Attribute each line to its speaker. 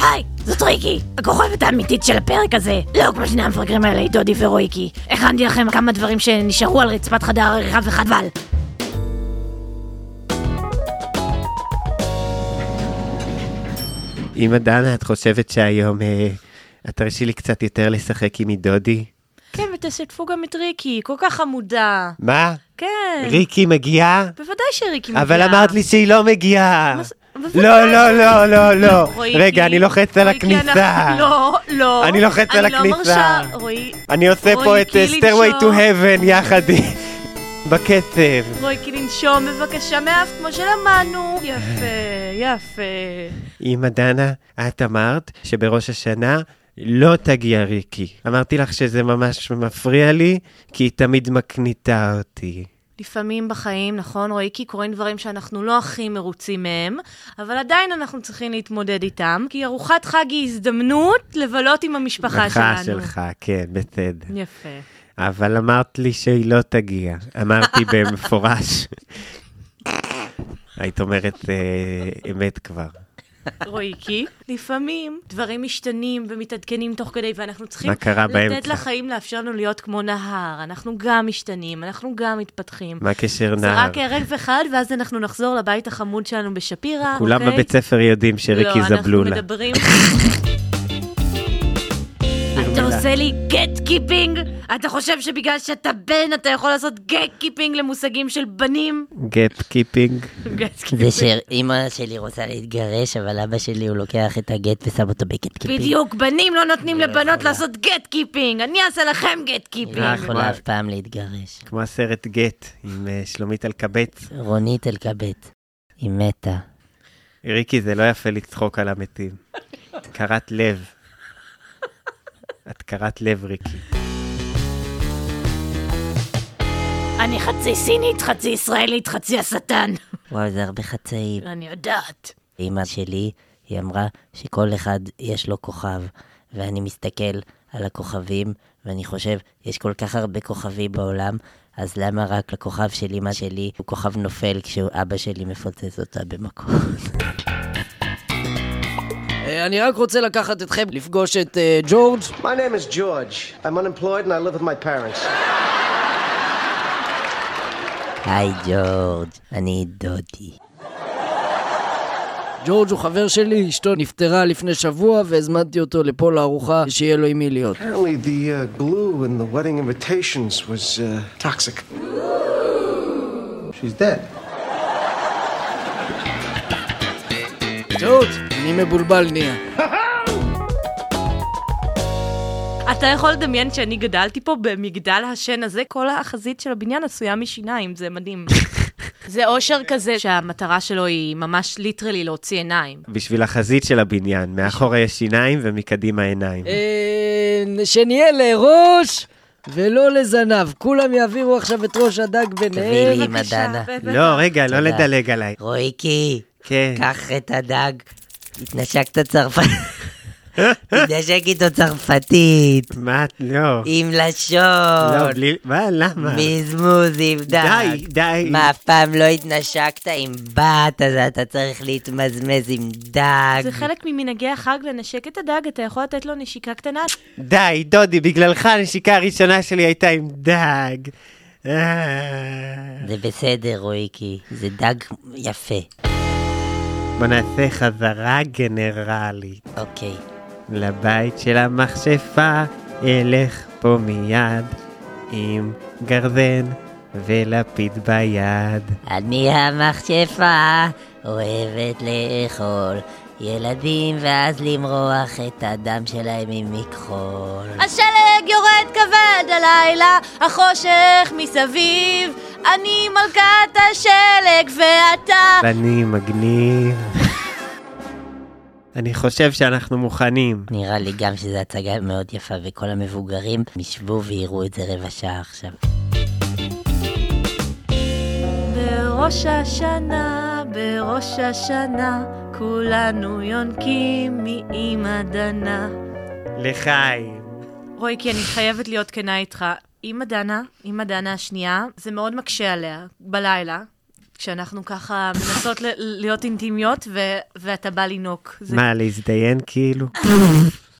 Speaker 1: היי, זאת ריקי, הכוכבת האמיתית של הפרק הזה. לא כמו שני המפגרים האלה, דודי ורויקי. הכנתי לכם כמה דברים שנשארו על רצפת חדר העריכה וחבל.
Speaker 2: אמא דנה, את חושבת שהיום אה, את תרשי לי קצת יותר לשחק עם עידודי?
Speaker 3: כן, ותשתפו גם את ריקי, כל כך חמודה.
Speaker 2: מה?
Speaker 3: כן.
Speaker 2: ריקי מגיעה?
Speaker 3: בוודאי שריקי מגיעה.
Speaker 2: אבל אמרת לי שהיא לא מגיעה.
Speaker 3: מה זה- בוודאי.
Speaker 2: לא, לא, לא, לא, לא.
Speaker 3: רועי,
Speaker 2: רגע,
Speaker 3: כי-
Speaker 2: אני לוחץ על
Speaker 3: רועי, כי
Speaker 2: הכניסה.
Speaker 3: אנחנו- לא, לא.
Speaker 2: אני לוחץ על
Speaker 3: אני
Speaker 2: הכניסה.
Speaker 3: לא מרשה, רועי,
Speaker 2: אני עושה פה
Speaker 3: רועי,
Speaker 2: את אה,
Speaker 3: כי
Speaker 2: סטיירווי
Speaker 3: לנשום.
Speaker 2: טו האבן יחד עם- בקצב.
Speaker 3: רועי, כי לנשום בבקשה מאף, כמו שלמדנו. יפה, יפה.
Speaker 2: אמא דנה, את אמרת שבראש השנה לא תגיע ריקי. אמרתי לך שזה ממש מפריע לי, כי היא תמיד מקניטה אותי.
Speaker 3: לפעמים בחיים, נכון, רועי, כי קורים דברים שאנחנו לא הכי מרוצים מהם, אבל עדיין אנחנו צריכים להתמודד איתם, כי ארוחת חג היא הזדמנות לבלות עם המשפחה שלנו.
Speaker 2: ברכה שלך, כן, בסדר.
Speaker 3: יפה.
Speaker 2: אבל אמרת לי שהיא לא תגיע. אמרתי במפורש. היית אומרת אה, אמת כבר.
Speaker 3: רועי, כי לפעמים דברים משתנים ומתעדכנים תוך כדי, ואנחנו צריכים
Speaker 2: מה קרה
Speaker 3: לתת
Speaker 2: באמצע?
Speaker 3: לחיים לאפשר לנו להיות כמו נהר. אנחנו גם משתנים, אנחנו גם מתפתחים.
Speaker 2: מה קשר
Speaker 3: זה
Speaker 2: נער?
Speaker 3: רק ערב אחד, ואז אנחנו נחזור לבית החמוד שלנו בשפירא,
Speaker 2: כולם
Speaker 3: אוקיי?
Speaker 2: בבית ספר יודעים שריקי
Speaker 3: לא, אנחנו
Speaker 2: זבלולה.
Speaker 3: מדברים...
Speaker 2: כאילו,
Speaker 1: אתה עושה לי גט קיפינג? אתה חושב שבגלל שאתה בן אתה יכול לעשות גט קיפינג למושגים של בנים?
Speaker 2: גאפ קיפינג.
Speaker 4: זה שאימא שלי רוצה להתגרש, אבל אבא שלי הוא לוקח את הגט ושם אותו בגט קיפי.
Speaker 1: בדיוק, בנים לא נותנים לבנות לעשות גט קיפינג. אני אעשה לכם גט
Speaker 4: היא
Speaker 1: קיפינג.
Speaker 4: לא
Speaker 2: אה, כבר.
Speaker 4: יכולה אף פעם להתגרש.
Speaker 2: כמו הסרט גט עם אה, שלומית אלקבץ.
Speaker 4: רונית אלקבט, היא מתה.
Speaker 2: ריקי, זה לא יפה לצחוק על המתים. את קרעת לב. את קרעת לב, ריקי.
Speaker 1: אני חצי סינית, חצי ישראלית, חצי השטן.
Speaker 4: וואו, זה הרבה חצאים.
Speaker 1: אני יודעת.
Speaker 4: אימא שלי, היא אמרה שכל אחד יש לו כוכב, ואני מסתכל על הכוכבים, ואני חושב, יש כל כך הרבה כוכבים בעולם, אז למה רק לכוכב של אימא שלי הוא כוכב נופל כשאבא שלי מפוצץ אותה במקום?
Speaker 5: אה, אני רק רוצה לקחת אתכם לפגוש את אה, ג'ורג'.
Speaker 6: My name is George. I'm unemployed and I live with my parents.
Speaker 4: היי ג'ורג', אני דודי.
Speaker 5: ג'ורג' הוא חבר שלי, אשתו נפטרה לפני שבוע והזמנתי אותו לפה לארוחה שיהיה לו עם מי להיות.
Speaker 6: Apparently, the uh, glue in the wedding invitations was uh, toxic. She's dead.
Speaker 5: ג'ורג', אני מבולבל נהיה.
Speaker 3: אתה יכול לדמיין שאני גדלתי פה במגדל השן הזה, כל החזית של הבניין עשויה משיניים, זה מדהים. זה אושר כזה שהמטרה שלו היא ממש ליטרלי להוציא עיניים.
Speaker 2: בשביל החזית של הבניין, מאחורה יש שיניים ומקדימה עיניים.
Speaker 5: אה, שנהיה לראש ולא לזנב. כולם יעבירו עכשיו את ראש הדג
Speaker 4: תביאי לי עם
Speaker 5: ביניהם.
Speaker 4: הדנה.
Speaker 2: לא, רגע, לא לדלג עליי.
Speaker 4: רויקי,
Speaker 2: כן.
Speaker 4: קח את הדג, התנשקת צרפתית. תתנשק איתו צרפתית,
Speaker 2: מה? לא.
Speaker 4: עם
Speaker 2: לא,
Speaker 4: לשון.
Speaker 2: בלי... מה? למה?
Speaker 4: מזמוז עם דג.
Speaker 2: די, די.
Speaker 4: מה, אף פעם לא התנשקת עם בת, אז אתה צריך להתמזמז עם דג.
Speaker 3: זה חלק ממנהגי החג לנשק את הדג, אתה יכול לתת לו נשיקה קטנה.
Speaker 2: די, דודי, בגללך הנשיקה הראשונה שלי הייתה עם דג. אה.
Speaker 4: זה בסדר, רויקי, זה דג יפה.
Speaker 2: בוא נעשה חזרה גנרלית
Speaker 4: אוקיי.
Speaker 2: לבית של המכשפה, אלך פה מיד עם גרזן ולפיד ביד.
Speaker 4: אני המכשפה, אוהבת לאכול ילדים ואז למרוח את הדם שלהם עם מכחול.
Speaker 3: השלג יורד כבד הלילה, החושך מסביב, אני מלכת השלג ואתה...
Speaker 2: ואני מגניב. אני חושב שאנחנו מוכנים.
Speaker 4: נראה לי גם שזו הצגה מאוד יפה, וכל המבוגרים ישבו ויראו את זה רבע שעה עכשיו.
Speaker 3: בראש השנה, בראש השנה, כולנו יונקים מאימא דנה.
Speaker 2: לחיים.
Speaker 3: רועי, כי אני חייבת להיות כנה איתך. אימא דנה, אימא דנה השנייה, זה מאוד מקשה עליה, בלילה. כשאנחנו ככה מנסות ל- להיות אינטימיות, ו- ואתה בא לינוק. זה
Speaker 2: מה, להזדיין כאילו?